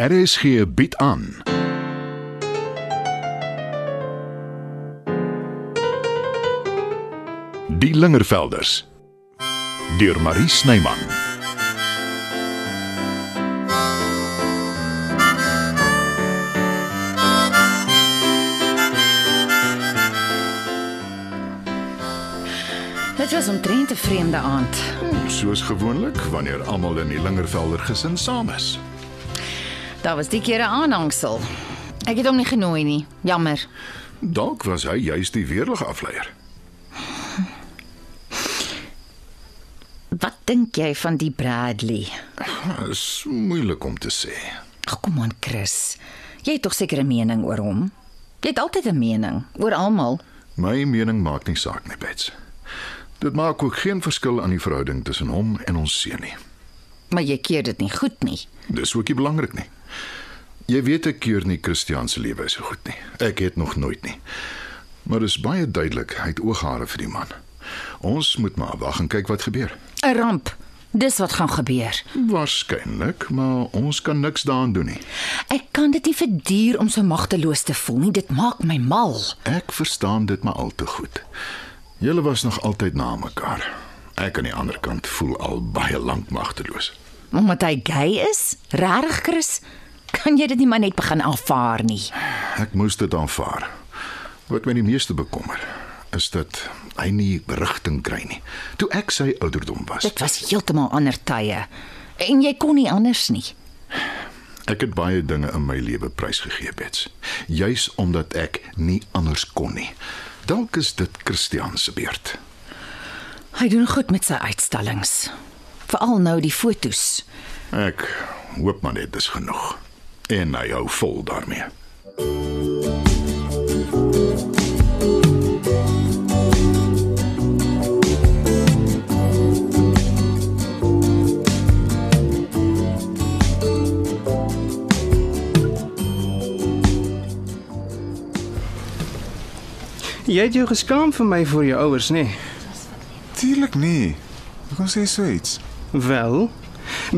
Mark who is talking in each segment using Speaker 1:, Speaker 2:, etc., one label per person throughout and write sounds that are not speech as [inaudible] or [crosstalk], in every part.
Speaker 1: RSG bied aan. Die Lingervelders deur Marie Snyman.
Speaker 2: Dit was omtrent 'n vreemde aand.
Speaker 1: Soos gewoonlik wanneer almal in die Lingervelder gesin saam is.
Speaker 2: Daar was die keer 'n aanhangsel. Ek het hom nie genooi nie. Jammer.
Speaker 1: Dalk was hy juis die weerlige afleier.
Speaker 2: Wat dink jy van die Bradley?
Speaker 1: Ah, Is moeilik om te sê.
Speaker 2: Ag kom aan, Chris. Jy het tog seker 'n mening oor hom. Jy het altyd 'n mening oor almal.
Speaker 1: My mening maak nie saak nie, Bets. Dit maak ook geen verskil aan die verhouding tussen hom en ons seun nie.
Speaker 2: Maar jy keer dit nie goed nie.
Speaker 1: Dis ook nie belangrik nie. Jy weet ek keur nie Christian se lewe so goed nie. Ek het nog nooit nie. Maar dis baie duidelik hy het ooghare vir die man. Ons moet maar wag en kyk wat gebeur.
Speaker 2: 'n Ramp. Dis wat gaan gebeur.
Speaker 1: Waarskynlik, maar ons kan niks daaraan doen nie.
Speaker 2: Ek kan dit nie verduur om so magteloos te voel nie. Dit maak my mal.
Speaker 1: Ek verstaan dit maar al te goed. Julle was nog altyd na mekaar. Ek aan die ander kant voel al baie lank magteloos.
Speaker 2: Omdat hy gay is? Regtig, Chris? Kan jy dit nie maar net begin aanvaar nie?
Speaker 1: Ek moes dit aanvaar. Wat my die meeste bekommer is dat hy nie rigting kry nie. Toe ek sy ouderdom was,
Speaker 2: Dit was heeltemal ander tye en jy kon nie anders nie.
Speaker 1: ek het baie dinge in my lewe prysgegee, Bets. Juis omdat ek nie anders kon nie. Dalk is dit Christian se beurt.
Speaker 2: Hy doen goed met sy uitstallings. Veral nou die fotos.
Speaker 1: Ek hoop maar net dis genoeg. En hy hou vol daarmee.
Speaker 3: Jy het jou geskaam vir my voor jou ouers, nê? Nee?
Speaker 4: Tuurlik nie. Hoekom sê jy so iets?
Speaker 3: Wel,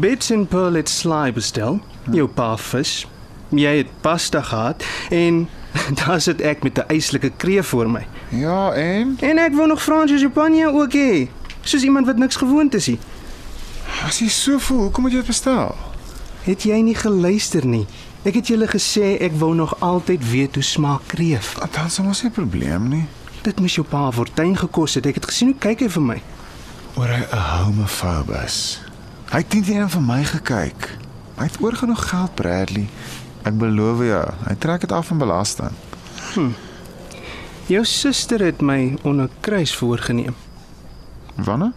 Speaker 3: Bits en Pearl het slaai bestel, jou pa vis. Jy het pasta gehad en [laughs] daar sit ek met 'n yslike kreef voor my.
Speaker 4: Ja, en
Speaker 3: En ek wou nog Franse champagne ook hê, soos iemand wat niks gewoond is nie.
Speaker 4: as jy so voel, hoekom het jy dit bestel?
Speaker 3: Het jy nie geluister nie? Ek het julle gesê ek wou nog altyd weet hoe smaak kreef.
Speaker 4: Ah, Dan sou mos nie 'n probleem nie.
Speaker 3: Dit moes jou pa 'n fortuin gekos het. Ek het gesien hoe kyk hy vir my.
Speaker 4: Oor hy 'n homofoob is. Hy het nie een van my gekyk. Hy het oor genoeg geld, Bradley. Ek beloof jou, hy trek dit af van belasting.
Speaker 3: Jou suster het my onder kruis voorgeneem
Speaker 4: Wanneer?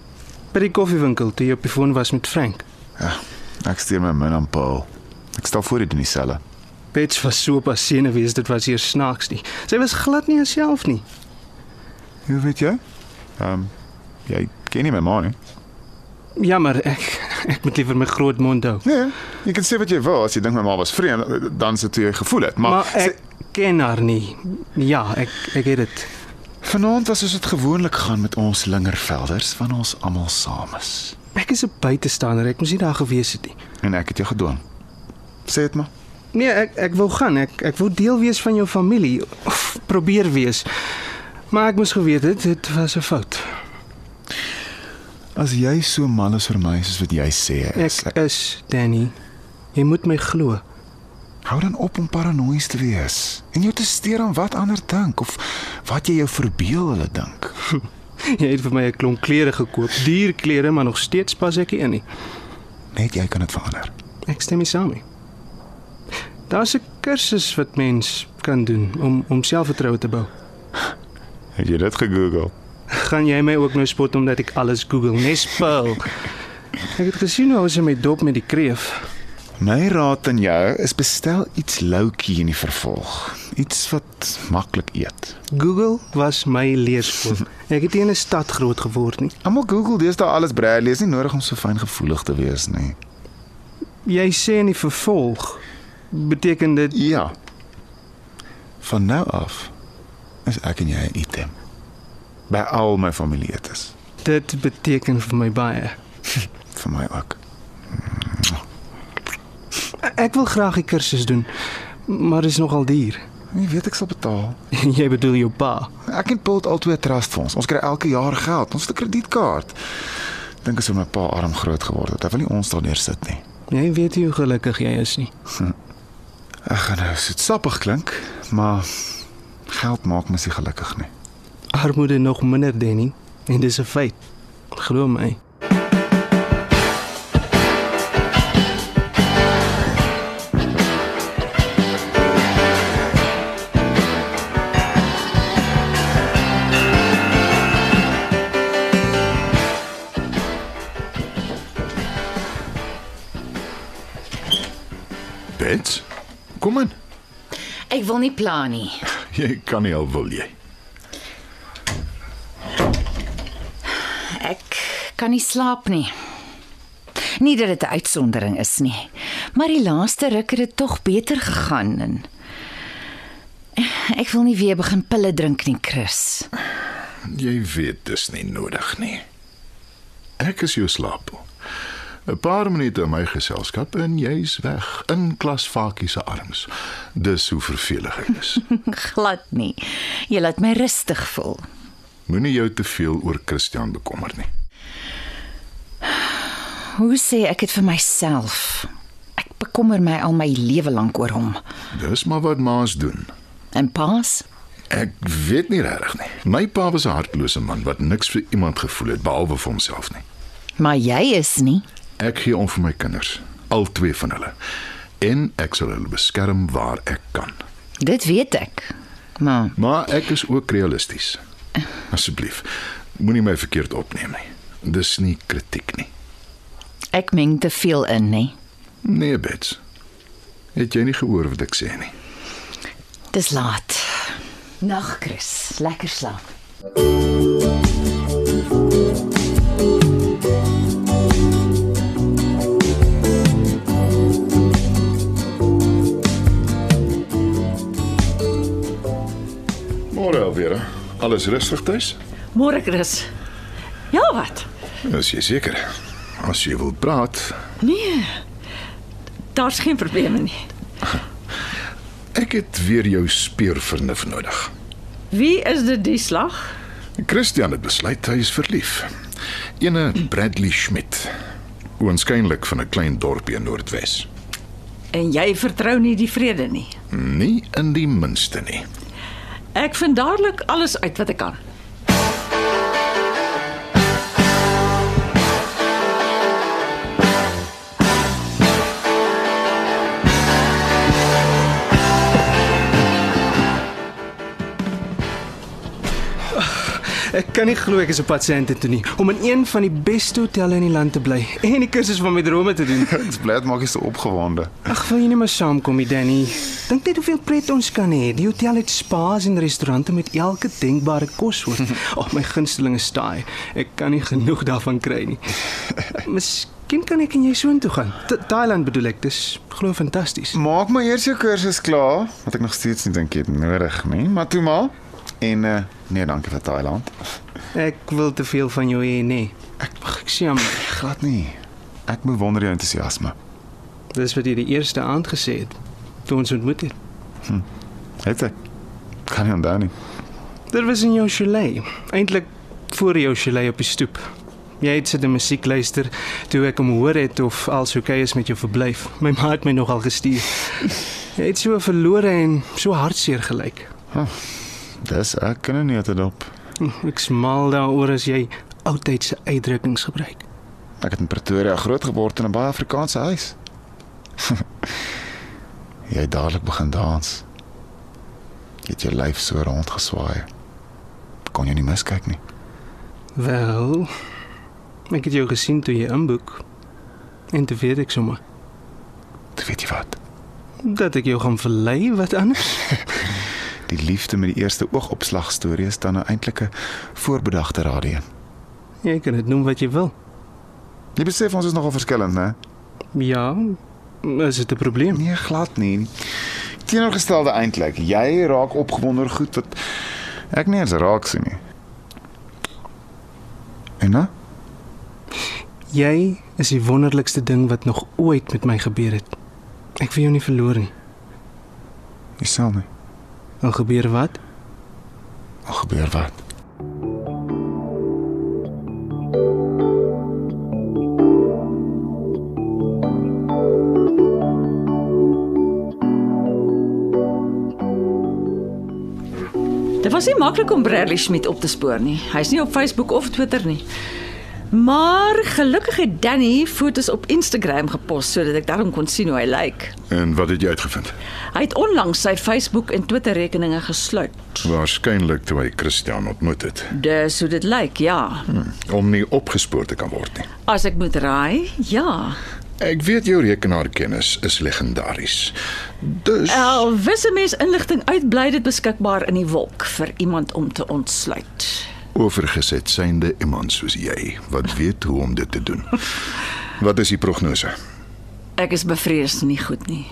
Speaker 3: by die koffiewinkel toe jy op die foon was met Frank.
Speaker 4: Ja, ek stuur my min aan Paul. Ek stel voor jy doen dieselfde.
Speaker 3: Bets was so pas senuwees, dit was hier snaaks nie. Sy was glad nie haarself nie.
Speaker 4: Hoe weet jy? Ehm um, jy ken nie my ma nie.
Speaker 3: Jammer, ek ek moet liever my groot mond hou.
Speaker 4: Nee, jy kan sê wat jy wil. As jy dink my ma was vreemd, dan sit jy gevoel het, maar,
Speaker 3: Maar, maar ek ken haar nie. Ja, ek ek het dit.
Speaker 4: Vanaand was soos dit gewoonlik gaan met ons lingervelders van ons almal saam is.
Speaker 3: Ek is 'n buitestander, ek moes nie daar gewees het nie.
Speaker 4: En ek het jou gedwing. Sê dit maar.
Speaker 3: Nee, ek ek wou gaan. Ek ek wou deel wees van jou familie of probeer wees. Maar ek moes geweet het dit was 'n fout.
Speaker 4: As jy so mal is vir my soos wat jy sê is,
Speaker 3: Ek is Danny. Jy moet my glo.
Speaker 4: hou dan op om paranoïes te wees en jou te steur aan wat ander dink of wat jy jou verbeel hulle dink.
Speaker 3: Jy het vir my 'n klomp klere gekoop, duur klere, maar nog steeds pas ek nie in nie.
Speaker 4: Net jy kan dit verander.
Speaker 3: Ek stem mee saam. mee. Daar's 'n kursus wat mens kan doen om om selfvertroue te bou.
Speaker 4: Het jy dit gegoogel?
Speaker 3: Gaan jy my ook nou spot omdat ek alles Google, nes Pearl? Ek het gesien hoe sy my dop met die kreef.
Speaker 4: My raad aan jou is bestel iets loukie in die vervolg. Iets wat maklik eet.
Speaker 3: Google was my leerskool. Ek het nie in 'n stad groot geword nie.
Speaker 4: Almal Google deesdae alles, Bradley, is nie nodig om so fyngevoelig te wees nie.
Speaker 3: Jy sê in die vervolg beteken dit
Speaker 4: Ja. Van nou af is ek en jy 'n item by al my familielede.
Speaker 3: dit beteken vir my baie.
Speaker 4: Vir my ook.
Speaker 3: Ek wil graag die kursus doen, maar dit is nogal duur. [laughs]
Speaker 4: Jy weet ek sal betaal.
Speaker 3: Jy bedoel jou pa.
Speaker 4: Ek en Paul het albei 'n trustfonds. Ons kry elke jaar geld. Ons het 'n kredietkaart. Dink as hoe my pa arm groot geword het. Hy wil nie ons daardeur sit nie.
Speaker 3: Jy weet nie hoe gelukkig jy is nie.
Speaker 4: Ek gaan nou soet sappig klink, maar geld maak mens nie gelukkig nie. [laughs]
Speaker 3: Armoede nog minder, Danny, en dis 'n feit. Glo my.
Speaker 1: Bets, kom in.
Speaker 2: Ek wil nie pla nie.
Speaker 1: Jy kan nie al wil jy.
Speaker 2: Ek kan nie slaap nie. Nie dat dit 'n uitsondering is nie, maar die laaste ruk het dit tog beter gegaan en ek wil nie weer begin pille drink nie, Chris. [laughs]
Speaker 1: Jy weet dis nie nodig nie. Ek is jou slaap. 'n Paar minute in my geselskap en jy's weg in klasvakie se arms. Dis hoe vervelig ek is.
Speaker 2: Glad nie. Jy laat my rustig voel.
Speaker 1: Moenie jou te veel oor Christian bekommer nie.
Speaker 2: Hoe sê ek dit vir myself? Ek bekommer my al my lewe lank oor hom.
Speaker 1: Dis maar wat ma's doen.
Speaker 2: En paas?
Speaker 1: Ek weet nie regtig nie. My pa was 'n hartlose man wat niks vir iemand gevoel het behalwe vir homself nie.
Speaker 2: Maar jy is nie.
Speaker 1: Ek gee om vir my kinders, al twee van hulle. En ek sal hulle beskerm waar ek kan.
Speaker 2: Dit weet ek. Maar
Speaker 1: Maar ek is ook realisties. Asseblief, moenie my verkeerd opneem nie. Dis nie kritiek nie.
Speaker 2: ek meng te veel in, nê.
Speaker 1: Nee, Bets. Het jy nie gehoor wat ek sê nie?
Speaker 2: Dis laat. Nag, Chris. Lekker slaap.
Speaker 1: Môre alweer. Alles rustig tuis?
Speaker 5: Môre Chris. Ja, wat?
Speaker 1: Is jy seker? As jy wil praat,
Speaker 5: Nee. Daar's geen probleme nie.
Speaker 1: ek het weer jou speurvernuf nodig.
Speaker 5: Wie is dit die slag?
Speaker 1: Christian het besluit hy is verlief. Ene Bradley Schmidt. Oënskynlik van 'n klein dorpie in Noordwes.
Speaker 5: En jy vertrou nie die vrede nie.
Speaker 1: Nie in die minste nie.
Speaker 5: Ek vind dadelik alles uit wat ek kan.
Speaker 3: Ek kan nie glo ek is op pad sente toe nie om in een van die beste hotelle in die land te bly [laughs] en die kursus van my drome te doen.
Speaker 4: Dit bly dit maak jy so opgewonde.
Speaker 3: Ag, wil jy nie maar saamkom nie, Danny? Dink net hoeveel pret ons kan hê. Die hotel het spa's en restaurante met elke denkbare kossoort. Ag, oh, my gunsteling is taai. Ek kan nie genoeg daarvan kry nie. Miskien kan ek en jy soontoe gaan. Tha- Thailand bedoel ek. Dis glo fantasties.
Speaker 4: Maak maar eers jou kursus klaar, wat ek nog steeds nie dink jy het nodig nie, maar toe maar. En eh nee, dankie vir Thailand.
Speaker 3: Ek wil te veel van jou hê, nee. Ek mag ek sê, maar
Speaker 4: Glad nie. Ek bewonder jou entoesiasme.
Speaker 3: dis wat jy die eerste aand gesê het toe ons ontmoet het.
Speaker 4: Het ek kan nie onthou nie.
Speaker 3: Dit was in jou chalet. Eintlik voor jou chalet op die stoep. Jy het sit en musiek luister toe ek hom hoor het of alles oukei is met jou verblyf. My ma het my nogal gestuur. Jy het so verlore en so hartseer gelyk.
Speaker 4: Dis ek kan nie dit op.
Speaker 3: Ek smal daaroor as jy oudtydse uitdrukkings gebruik.
Speaker 4: Ek het in Pretoria grootgeword in 'n baie Afrikaanse huis. [laughs] jy het dadelik begin dans. Jy het jou lyf so rond geswaai. Kon jy nie miskyk nie.
Speaker 3: Wel, ek het jou gesien toe jy inboek. En toe weet ek sommer
Speaker 4: Toe weet jy wat.
Speaker 3: dat ek jou gaan verlei wat anders.
Speaker 4: Die liefde met die eerste oogopslag storie is dan nou 'n eintlike voorbedagte radie.
Speaker 3: Jy kan dit noem wat jy wil.
Speaker 4: Jy besef ons is nogal verskillend, né?
Speaker 3: Ja, is dit 'n probleem?
Speaker 4: Nee, glad nie. Teenoorgestelde eintlik. Jy raak opgewonde oor goed wat ek nie eens raak sien nie. En nou?
Speaker 3: Jy is die wonderlikste ding wat nog ooit met my gebeur het. Ek wil jou nie verloor nie.
Speaker 4: Jy sal nie.
Speaker 3: Al gebeur wat?
Speaker 4: Al gebeur wat.
Speaker 5: Dit was nie maklik om Bradley Smit op te spoor nie. Hy's nie op Facebook of Twitter nie. Maar gelukkig het Danny foto's op Instagram gepos sodat ek daarom kon sien hoe hy lyk.
Speaker 1: En wat het jy uitgevind?
Speaker 5: Hy het onlangs sy Facebook en Twitter rekeninge gesluit.
Speaker 1: Waarskynlik toe hy Christian ontmoet het,
Speaker 5: Dis hoe dit lyk, ja.
Speaker 1: om nie opgespoor te kan word nie.
Speaker 5: As ek moet raai, ja.
Speaker 1: Ek weet jou rekenaarkennis is legendaries. Dus
Speaker 5: Al wisse mens inligting uitbly dit beskikbaar in die wolk vir iemand om te ontsluit.
Speaker 1: Oorgeset synde iemand soos jy wat weet hoe om dit te doen. Wat is die prognose?
Speaker 5: Ek is bevrees nie goed nie.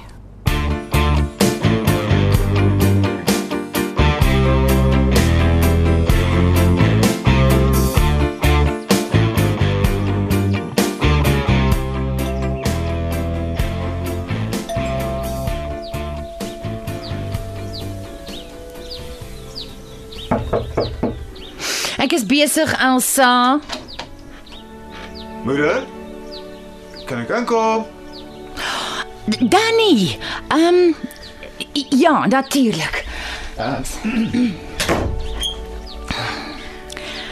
Speaker 2: Ek is besig, Elsa.
Speaker 4: Moeder? Kan ek aankom?
Speaker 2: D- Danny. Ehm um, ja, natuurlik.
Speaker 4: [clears throat]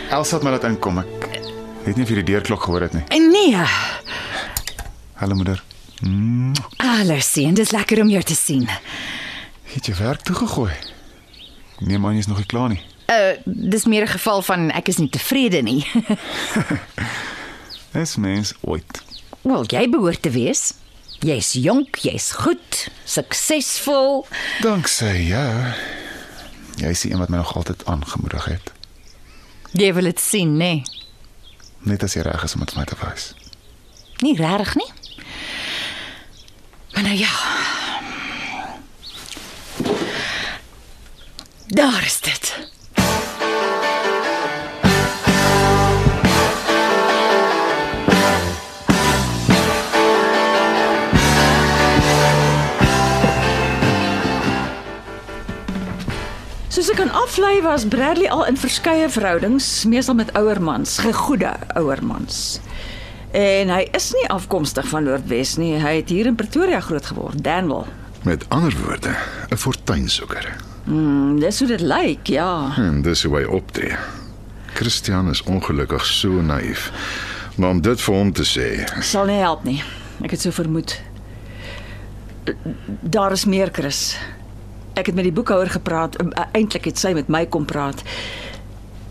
Speaker 4: Elsa het my laat inkom. Ek weet nie of jy die deurklok gehoor het nie.
Speaker 2: Nee,
Speaker 4: Hallo moeder.
Speaker 2: alles sien, dis lekker om jou te sien.
Speaker 4: Het jy werk toegegooi? Ek Neem aan jy's nog nie klaar nie.
Speaker 2: Uh dis meer 'n geval van ek is nie tevrede nie. [laughs]
Speaker 4: Dis mens ooit.
Speaker 2: Wel, jy behoort te wees. Jy's jonk, jy's goed, suksesvol.
Speaker 4: Danksy jou. ja. Jy is die een wat my nog altyd aangemoedig het.
Speaker 2: Jy wil dit sien, nê? Nee.
Speaker 4: Net as jy reg is om dit vir my te wys.
Speaker 2: Nie regtig nie. Maar nou ja. Daar is dit.
Speaker 5: Soos ek kan aflei was Bradley al in verskeie verhoudings, meestal met ouer mans, gegoede ouer mans. En hy is nie afkomstig van Noordwes nie. Hy het hier in Pretoria grootgeword, Danwil.
Speaker 1: Met ander woorde, 'n fortuinsoeker.
Speaker 5: Mm, dis hoe dit lyk, ja.
Speaker 1: En dis hoe hy optree. Christian is ongelukkig so naïef. Maar om dit vir hom te sê,
Speaker 5: Sal nie help nie. Ek het so vermoed. Daar is meer, Chris. Ek het met die boekhouer gepraat. Eintlik het sy met my kom praat.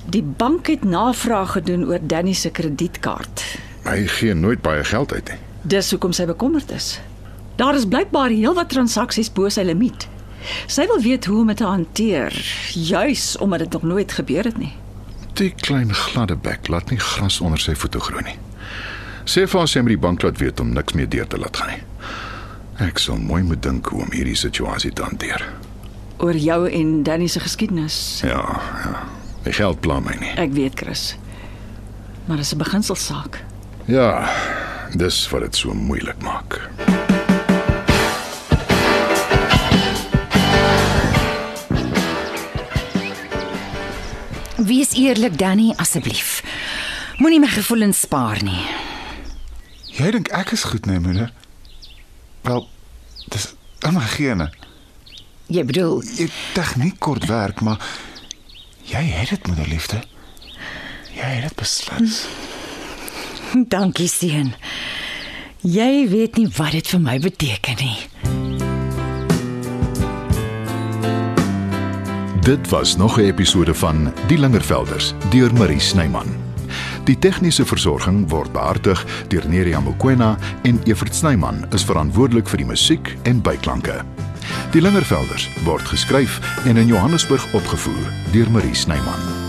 Speaker 5: Die bank het navraag gedoen oor Danny se kredietkaart.
Speaker 1: hy gee nooit baie geld uit nie.
Speaker 5: Dis hoekom sy bekommerd is. Daar is blykbaar heelwat transaksies bo sy limiet. Sy wil weet hoe om dit te hanteer, juis omdat dit nog nooit gebeur het nie.
Speaker 1: Die klein gladde bek laat nie gras onder sy voete groei nie. Sê vir haar sy moet die bank laat weet om niks meer deur te laat gaan nie. Ek sal mooi moet dink hoe om hierdie situasie te hanteer.
Speaker 5: Oor jou en Danny se geskiedenis.
Speaker 1: Ja, ja. Die geld pla my nie.
Speaker 5: Ek weet, Chris. Maar dis 'n beginselsaak.
Speaker 1: Ja, dis wat dit so moeilik maak.
Speaker 2: Wees eerlik, Danny, asseblief. Moenie my gevoelens spaar nie.
Speaker 4: Jy dink ek is goed nee moeder? Wel, dis in my gene.
Speaker 2: Jy bedoel, [laughs]
Speaker 4: Jou tegniek kort werk, maar jy het dit moederliefde. Jy het dit beslis.
Speaker 2: dankie seun. Jy weet nie wat dit vir my beteken nie.
Speaker 1: Dit was nog 'n episode van Die Lingervelders deur Marie Snyman. Die tegniese versorging word behartig deur Neriya Mkwena en Evert Snyman is verantwoordelik vir die musiek en byklanke. Die Lingervelders word geskryf en in Johannesburg opgevoer deur Marie Snyman.